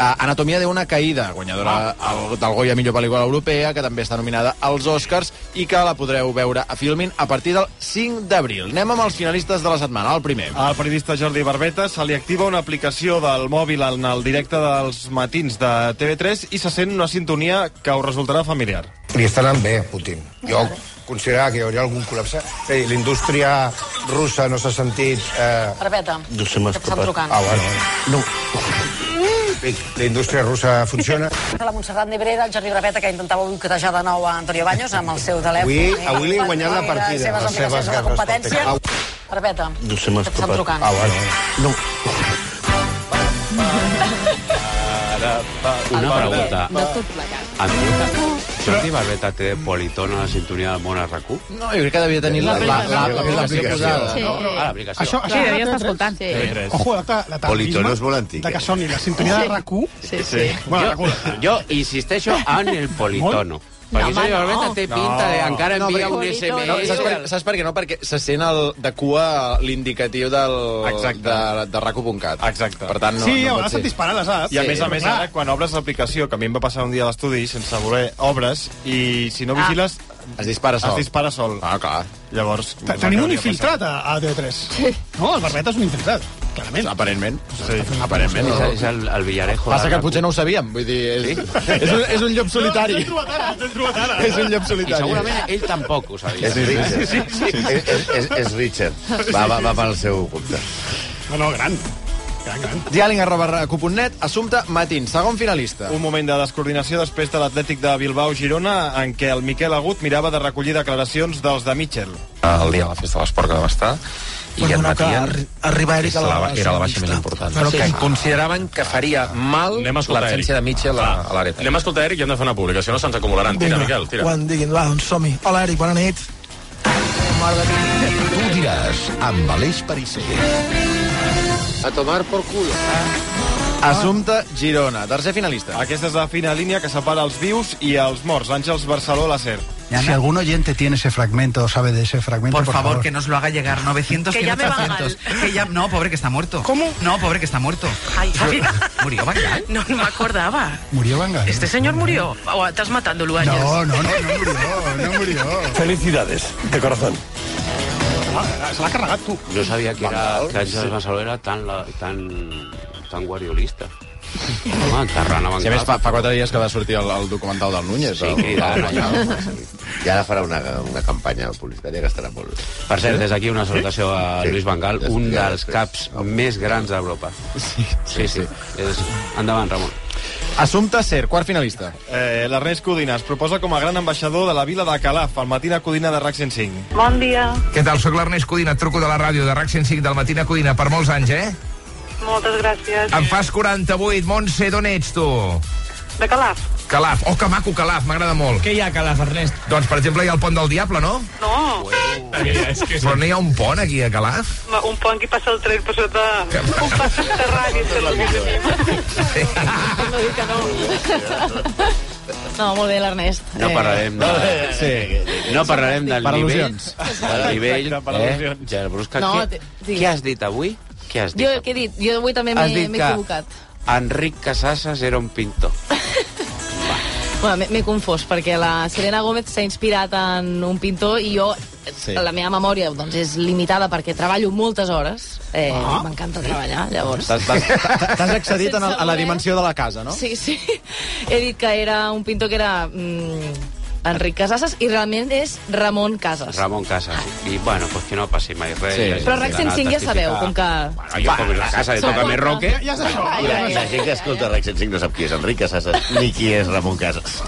eh, Anatomia d'una caïda, guanyadora
Ah.
al- del Goya Millor Pel·lícula Europea, que també està nominada als Oscars i que la podreu veure a Filmin a partir del 5 d'abril. Anem amb els finalistes de la setmana, el primer.
Al periodista Jordi Barbeta se li activa una aplicació del mòbil en el directe dels matins de TV3 i se sent una sintonia que us resultarà familiar.
Li està anant bé, Putin. Jo considerava que hi hauria algun col·lapse. Ei, l'indústria russa no s'ha sentit... Eh...
Barbeta,
No se m'ha
escapat. trucant.
Ah, bueno. No. Ei, La indústria russa funciona.
la Montserrat Nebrera, el Jordi Barbeta, que intentava boicotejar de nou a Antonio Baños amb el seu telèfon.
Avui, avui li he guanyat la partida.
Les seves obligacions de la competència.
Ah,
Barbeta,
no se m'ha
escapat. trucant.
Ah, bueno. No.
Una pregunta.
de tot plegat.
A mi, Jordi Barbeta té politona a la sintonia del món a RAC1?
No, jo crec que devia tenir la- la- la- l'aplicació posada.
Sí.
no?
Ah, l'aplicació.
Això,
Sí,
això
devia estar
TV3.
escoltant.
Sí.
Ojo, la, ta- la
Politono
tardisme
és molt antic,
de
eh?
que soni la sintonia de RAC1.
Sí, sí.
Bueno,
Jo,
RAC1.
jo insisteixo en el politono. Perquè Jordi Barbeta té pinta de... Encara
No,
envia
perquè-
un SMS...
No, saps, per, saps per què no? Perquè se sent el, de cua l'indicatiu del,
Exacte.
de, de raco.cat.
Exacte.
Per tant, no,
Sí, a
no
vegades
pot
se'n
ser.
disparen les apps.
I a
Sí,
més a més,
clar.
ara, quan obres l'aplicació, que a mi em va passar un dia a l'estudi sense voler obres, i si no vigiles,
Es dispara sol.
es dispara sol.
Ah, clar.
Llavors...
Te- Tenim un infiltrat a, a TV3. No, el Barbeta és un infiltrat, clarament.
Aparentment.
Sí.
Aparentment,
És,
no?
és el, el Villarejo.
Passa
de
que
RAC1.
potser no ho sabíem, vull dir, és, sí? és, un, és un llop solitari.
L'hem trobat ara, l'hem trobat ara.
és un llop
I
solitari.
segurament ell tampoc ho sabia.
És Richard. Sí, sí, sí. És, és, és Richard. Va, va, va pel seu compte.
No, no, gran. Gran, gran.
Diàling arroba recu.net, assumpte matin, segon finalista.
Un moment de descoordinació després de l'Atlètic de Bilbao-Girona, en què el Miquel Agut mirava de recollir declaracions dels de Mitchell.
el dia de la festa de l'esport que va estar i bueno, no, que arribar Eric a la, era la baixa més important. Però que consideraven que faria mal l'absència de Mitchell a, a l'àrea. Anem a escoltar Eric i hem de fer una publicació, no se'ns acumularan. Tira, Miquel, tira. Quan diguin, va, doncs som-hi. Hola, Eric, bona nit.
Tu diràs amb Aleix Pariser.
Assumpte Girona, tercer finalista.
Aquesta és la fina línia que separa els vius i els morts. Àngels Barceló, la SER.
Si algun oyente tiene ese fragmento o sabe de ese fragmento,
Por favor, que nos lo haga llegar 900,
Que
100,
ya me va
800. Que ya, no, pobre, que está muerto. ¿Cómo? No, pobre, que está muerto.
Ay, ay.
Murió Bangal.
No, no me acordaba.
Murió Bangal.
¿Este señor murió? ¿O estás matándolo, Áñez?
No, no, no, no murió, no murió.
Felicidades, de corazón.
Se l'ha carregat, tu.
Jo sabia que, era, que Àngel Massaló era tan, la, tan, tan guariolista. Home, enterrant a
Si a més, fa,
Bangal.
fa quatre dies que va sortir el, el documental del Núñez.
Sí,
Ah, el-
cridant allà.
I ara farà una, una campanya publicitària que estarà molt bé.
Per cert, des d'aquí una salutació a
Sí.
Lluís Bangal,
Ja
un
explicaré
dels
després.
caps més grans d'Europa. Sí, sí. És... Endavant, Ramon.
Assumpte Ser, quart finalista. Eh, L'Ernest Codina es proposa com a gran ambaixador de la vila de Calaf, al Matina Codina de RAC 105.
Bon dia.
Què tal? Soc l'Ernest Codina, et truco de la ràdio de RAC 105 del Matina Codina per molts anys, eh?
Moltes gràcies.
Em fas 48, Montse, d'on ets tu?
De Calaf.
Calaf. Oh, que maco Calaf, m'agrada molt. Què hi ha Calaf, Ernest? Doncs, per exemple, hi ha el pont del Diable, no?
No.
Però no hi ha un pont aquí a Calaf?
Ma- Un pont que hi passa el tren per sota... Un pas subterrani. això és el que tenim.
No dic que no.
No, molt bé, l'Ernest. Eh,
No parlarem de...
Sí.
No parlarem del
Per
nivell...
al·lusions.
Del nivell...
Exacte, per
Eh?
al·lusions.
Gerbrusca,
No,
què,
di-
què has dit avui? Què has dit?
Jo què he dit? Jo avui també m'he
Has dit
m'he
que-
equivocat.
Enric Casasas era un pintor.
Bueno, m'he- m'he confós, perquè la Selena Gómez s'ha inspirat en un pintor i jo,
Sí.
sí. la meva memòria doncs, és limitada perquè treballo moltes hores. Eh,
Ah.
M'encanta treballar, llavors.
T'has- T'has t'has accedit en el, a la
voler.
dimensió de la casa, no?
Sí, sí. He dit que era un pintor que era mm, Enric Casasses i realment és Ramon Casas.
Ramon Casas. I, bueno, pues que no passi mai res.
Sí.
I
Però RAC
d'anar a
105 ja sabeu,
testificar.
com que...
Bueno, jo com en la casa de
Som
toca més eh?
quatre.
roque...
Ja és això.
I la, la gent que escolta RAC 105 no sap qui és Enric Casas ni qui és Ramon Casas.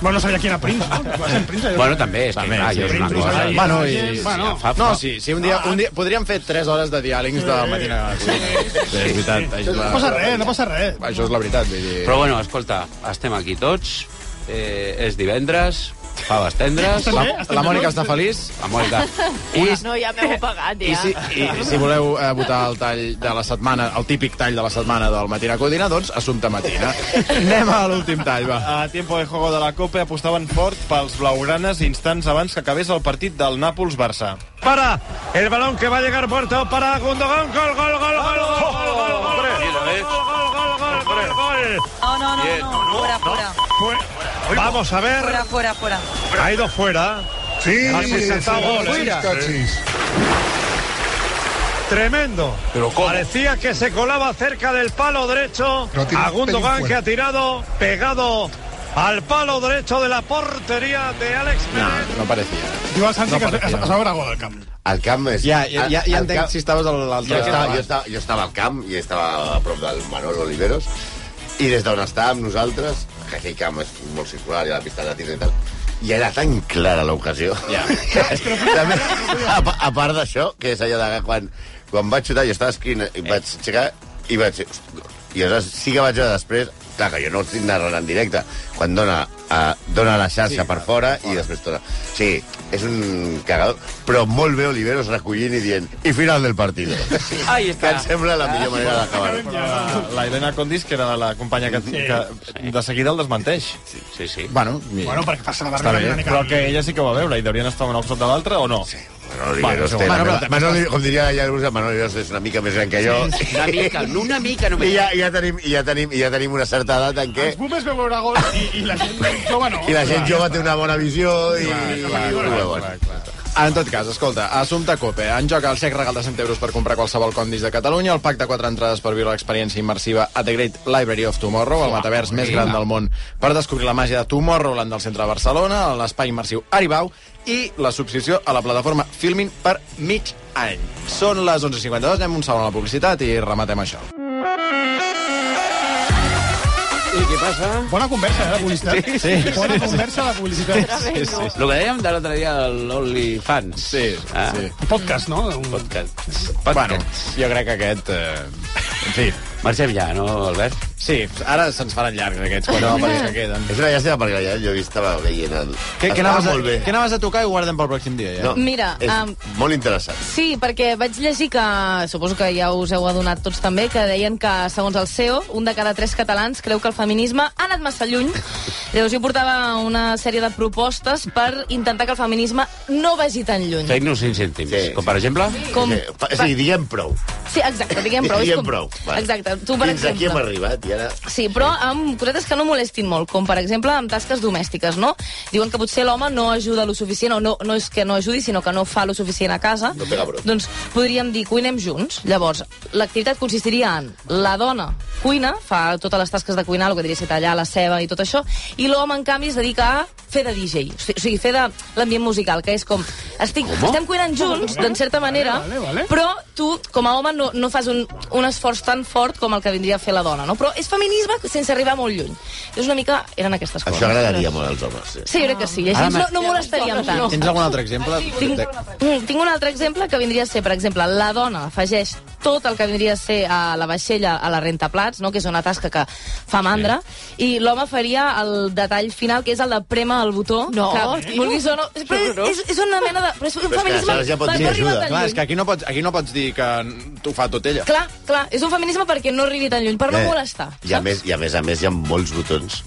Bueno, no sabia qui era Prince.
Bueno, també, és que clar, jo és una cosa...
Bueno, i, i,
Bueno.
fa, fa. No, sí, sí, un dia, un dia... Podríem fer 3 hores de diàlegs de matina. Sí, és veritat. Això és la,
No passa res, no passa res.
Això és la veritat, vull dir...
Però bueno, escolta, estem aquí tots, eh, és divendres, faves tendres...
La, la Mònica està feliç.
La Mònica.
I,
No, ja m'heu pagat,
i,
ja.
si, i, si voleu eh, votar el tall de la setmana, el típic tall de la setmana del Matina Codina, doncs Assumpte Matina. Anem a l'últim tall, va.
A tiempo de juego de la Copa apostaven fort pels blaugranes instants abans que acabés el partit del Nàpols-Barça.
Para el balón que va a llegar muerto para Gundogan. Gol, gol, gol, gol, gol, gol, gol, gol, gol, gol, gol, gol, gol.
No, no, no, no, fuera, fuera.
Vamos a ver.
Fuera, fuera, fuera.
Ha ido fuera.
Sí,
ha presentado
sí,
gol.
fuera.
Sí. Tremendo.
Pero ¿cómo?
Parecía que se colaba cerca del palo derecho.
Lo tiene
A
un pelín
Gundogan
fuera.
que ha tirado pegado al palo derecho de la portería de Alex
No, no parecia.
Diu el Santi
No
que es, es,
parecia.
es va veure gol al camp.
El camp és...
Ja, ja, ja, ja
el
entenc
camp-
si estaves a
Jo,
l'altre.
estava, jo, estava, jo estava al camp i estava a prop del Manuel Oliveros i des d'on estàvem nosaltres, que aquell camp és molt circular i a la pista de tir i tal, i era tan clara l'ocasió. Ja. També, a, pa- a part d'això, que és allò de que quan, quan vaig xutar, jo estava escrivint i vaig aixecar i vaig dir, "Hosti, gol". i aleshores sí que vaig veure després, clar, que jo no ho estic narrant en directe, quan dona, a, dona la xarxa
Sí,
per fora, i després torna. Sí, és un cagador, però molt bé Oliveros recollint i dient, i final del partit.
Ahí
Que em sembla la millor manera
Però
d'acabar.
La, la Helena Condis, que era la companya que, que de seguida el desmenteix.
Sí, sí. sí.
Bueno,
Bueno, perquè passa la
està
barrera
bé,
una mica.
però que ella sí que ho va veure i deurien estar una al costat de l'altra o no? Sí,
Manuel Oliveros té la meva- Manuel, com diria la Llarusa, Manuel Oliveros és una mica més gran que jo.
Una mica, no una mica només.
I ja, i ja, tenim, i ja, tenim, i ja tenim una certa edat en què
Els boomers veu veure gol i, i la gent jove no.
i la gent jove té una bona visió i...
Ah, En tot cas, escolta, Assumpte Cope, eh? en joc al sec regal de 100 euros per comprar qualsevol condis de Catalunya, el pack de 4 entrades per viure l'experiència immersiva a The Great Library of Tomorrow, el metavers més gran del món per descobrir la màgia de Tomorrowland del centre de Barcelona, l'espai immersiu Aribau i la subscripció a la plataforma Filmin per mig any. Són les 11.52, anem un segon a la publicitat i rematem això.
I què passa?
Bona conversa, eh, la publicitat.
Sí, sí,
Bona
sí,
conversa, la publicitat.
Sí, sí. El que dèiem de l'altre dia de l'OnlyFans. Sí, ah. sí.
Podcast, no? Un...
Podcast. Podcast. Bueno,
jo crec que aquest... Eh, en fi.
Marxem ja, no, Albert?
Sí, ara se'ns faran llargs aquests quatre hores que queden.
És una llàstima perquè ja, jo he vist, estava veient el...
Què, què,
Estava
anaves a,
molt bé.
què anaves a tocar i ho guardem pel pròxim dia, ja?
No,
Mira,
és
em-
molt interessant.
Sí, perquè vaig llegir que, suposo que ja us heu adonat tots també, que deien que, segons el CEO, un de cada tres catalans creu que el feminisme ha anat massa lluny. Llavors jo portava una sèrie de propostes per intentar que el feminisme no vagi tan lluny.
Fake-nos 5 cèntims. Sí, com, per exemple?
Com-
Sí, Eh, fa- sí, diguem prou.
Sí, exacte, diguem prou. és
Diguem
com-
prou, vale.
Exacte, tu per
Fins
exemple.
aquí hem arribat i ara...
Sí, però amb cosetes que no molestin molt, com per exemple amb tasques domèstiques, no? Diuen que potser l'home no ajuda lo suficient, o no, no és que no ajudi, sinó que no fa lo suficient a casa.
No pega brot.
Doncs podríem dir cuinem junts. Llavors, l'activitat consistiria en la dona cuina, fa totes les tasques de cuinar, el que diria ser tallar la ceba i tot això, i l'home, en canvi, es dedica a fer de DJ, o sigui- o sigui, fer de l'ambient musical, que és com, estic, estem cuinant junts, d'en certa manera,
Vale, vale, vale.
però tu, com a home, no, no fas un, un esforç tan fort com el que vindria a fer la dona, no? Però és feminisme sense arribar molt lluny. És una mica... Eren aquestes coses.
Això agradaria molt als homes.
Sí, jo crec que sí. Així
Ara
no, no molestaríem tant.
Tens algun altre exemple?
Tinc,
Tec-
mm, tinc un altre exemple que vindria a ser, per exemple, la dona afegeix tot el que vindria a ser a la vaixella a la rentaplats, no? que és una tasca que fa mandra, i l'home faria el detall final, que és el de prema el botó.
No,
que,
tio.
vulguis o no, però és, és, és una mena de... Però és un
Però és que
feminisme...
aleshores
per no arribar tan
Clar,
lluny.
és que aquí no pots, aquí no pots dir que t'ho fa tot ella.
Clar, clar, és un feminisme perquè no arribi tan lluny, per no
Eh,
molestar.
I a, més, I a més a més hi ha molts botons.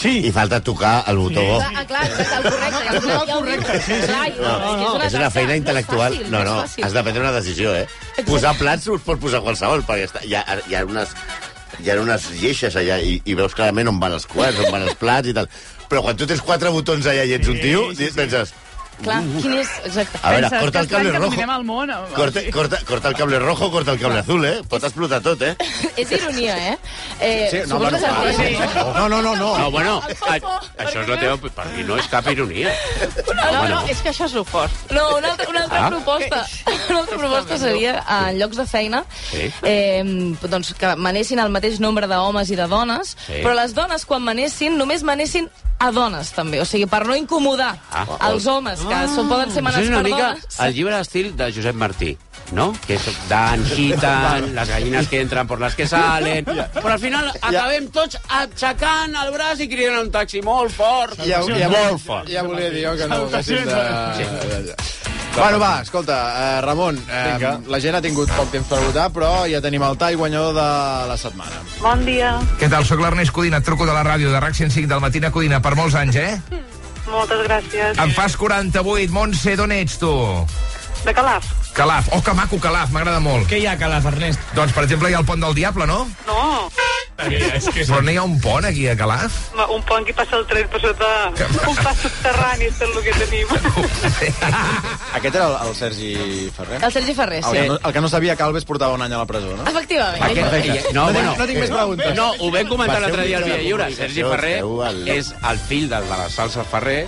Sí. I falta tocar el botó. Sí.
Ah, clar, és el correcte. és el correcte, sí, sí.
No, no, és una feina intel·lectual.
fàcil,
No,
no és
no,
fàcil.
has de prendre una decisió, eh? Posar plats us pot posar qualsevol, perquè està, hi, ha, hi ha unes hi ha unes lleixes allà i, i veus clarament on van els quarts, on van els plats i tal. Però quan tu tens quatre botons allà i ets un tio, penses,
Clar, quin és... Exacte.
A veure, corta el cable rojo.
Dominem el món. home.
corta, corta, corta el cable rojo, corta el cable azul, eh? Pot explotar tot, eh?
És ironia, eh? eh
Sí, sí, no,
suposo que
bueno,
és el
clar,
que-
sí. No, no, no,
Oh.
no.
No, bueno, a, això és la teva... Per mi no és cap ironia.
No, no, és que això és lo fort.
No, una altra, una altra
Ah.
proposta. Una altra proposta seria, eh, en llocs de feina,
Sí.
eh, doncs que manessin el mateix nombre d'homes i de dones,
Sí.
però les dones, quan manessin, només manessin a dones, també. O sigui, per no incomodar
Ah.
els homes, que són, poden ser
Això
manats
és una
per
mica
dones.
el llibre d'estil de Josep Martí, no? Que és d'anjitan, les gallines que entran por las que salen... Però al final acabem tots aixecant el braç i cridant a un taxi molt fort.
Ja, ja,
molt fort.
Ja volia dir jo que no ho haguessis de...
Sí.
Bueno, va, escolta, eh, Ramon, eh,
Vinga.
la gent ha tingut poc temps per votar, però ja tenim el tall guanyador de la setmana.
Bon dia.
Què tal? Soc l'Ernest Codina, et truco de la ràdio de RAC 105 del matí a Codina per molts anys, eh?
Moltes gràcies.
Em fas 48. Montse, d'on ets tu?
De Calaf.
Calaf. Oh, que maco, Calaf, m'agrada molt. Què hi ha, Calaf, Ernest? Doncs, per exemple, hi ha el pont del Diable, no?
No,
Però no hi ha un pont aquí a Calaf?
ma- un pont que passa el tren per sota. Un pas subterrani, és tot el que tenim.
Aquest era el, el Sergi Ferrer?
El Sergi Ferrer, sí.
El, que no, el que no sabia que Alves portava un any a la presó, no?
Efectivament.
Perfecte.
No,
No
bueno,
tinc- no tinc
eh,
més preguntes.
No, ho vam comentar
Va ser
l'altre
un
dia al
mitjà
Via
de
Lliure. Sergi
comunicació,
Ferrer
seu, el-
és el fill del de la salsa Ferrer,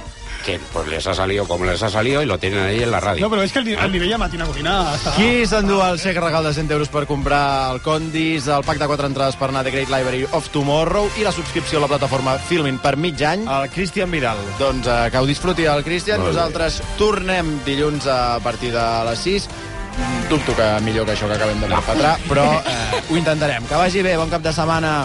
que pues, les ha salido com les ha salido y lo tienen ahí en la ràdio.
No, però és que el, ni- el nivell a matina codina... Està...
Qui s'endú el xec regal de 100 euros per comprar el Condis, el pack de 4 entrades per anar a The Great Library of Tomorrow i la subscripció a la plataforma Filmin per mig any?
El Cristian Vidal.
Doncs eh, que ho disfruti el Cristian.
Molt bé.
Nosaltres tornem dilluns a partir de les 6. Dubto que millor que això que acabem de perpetrar, però eh, ho intentarem. Que vagi bé, bon cap de setmana.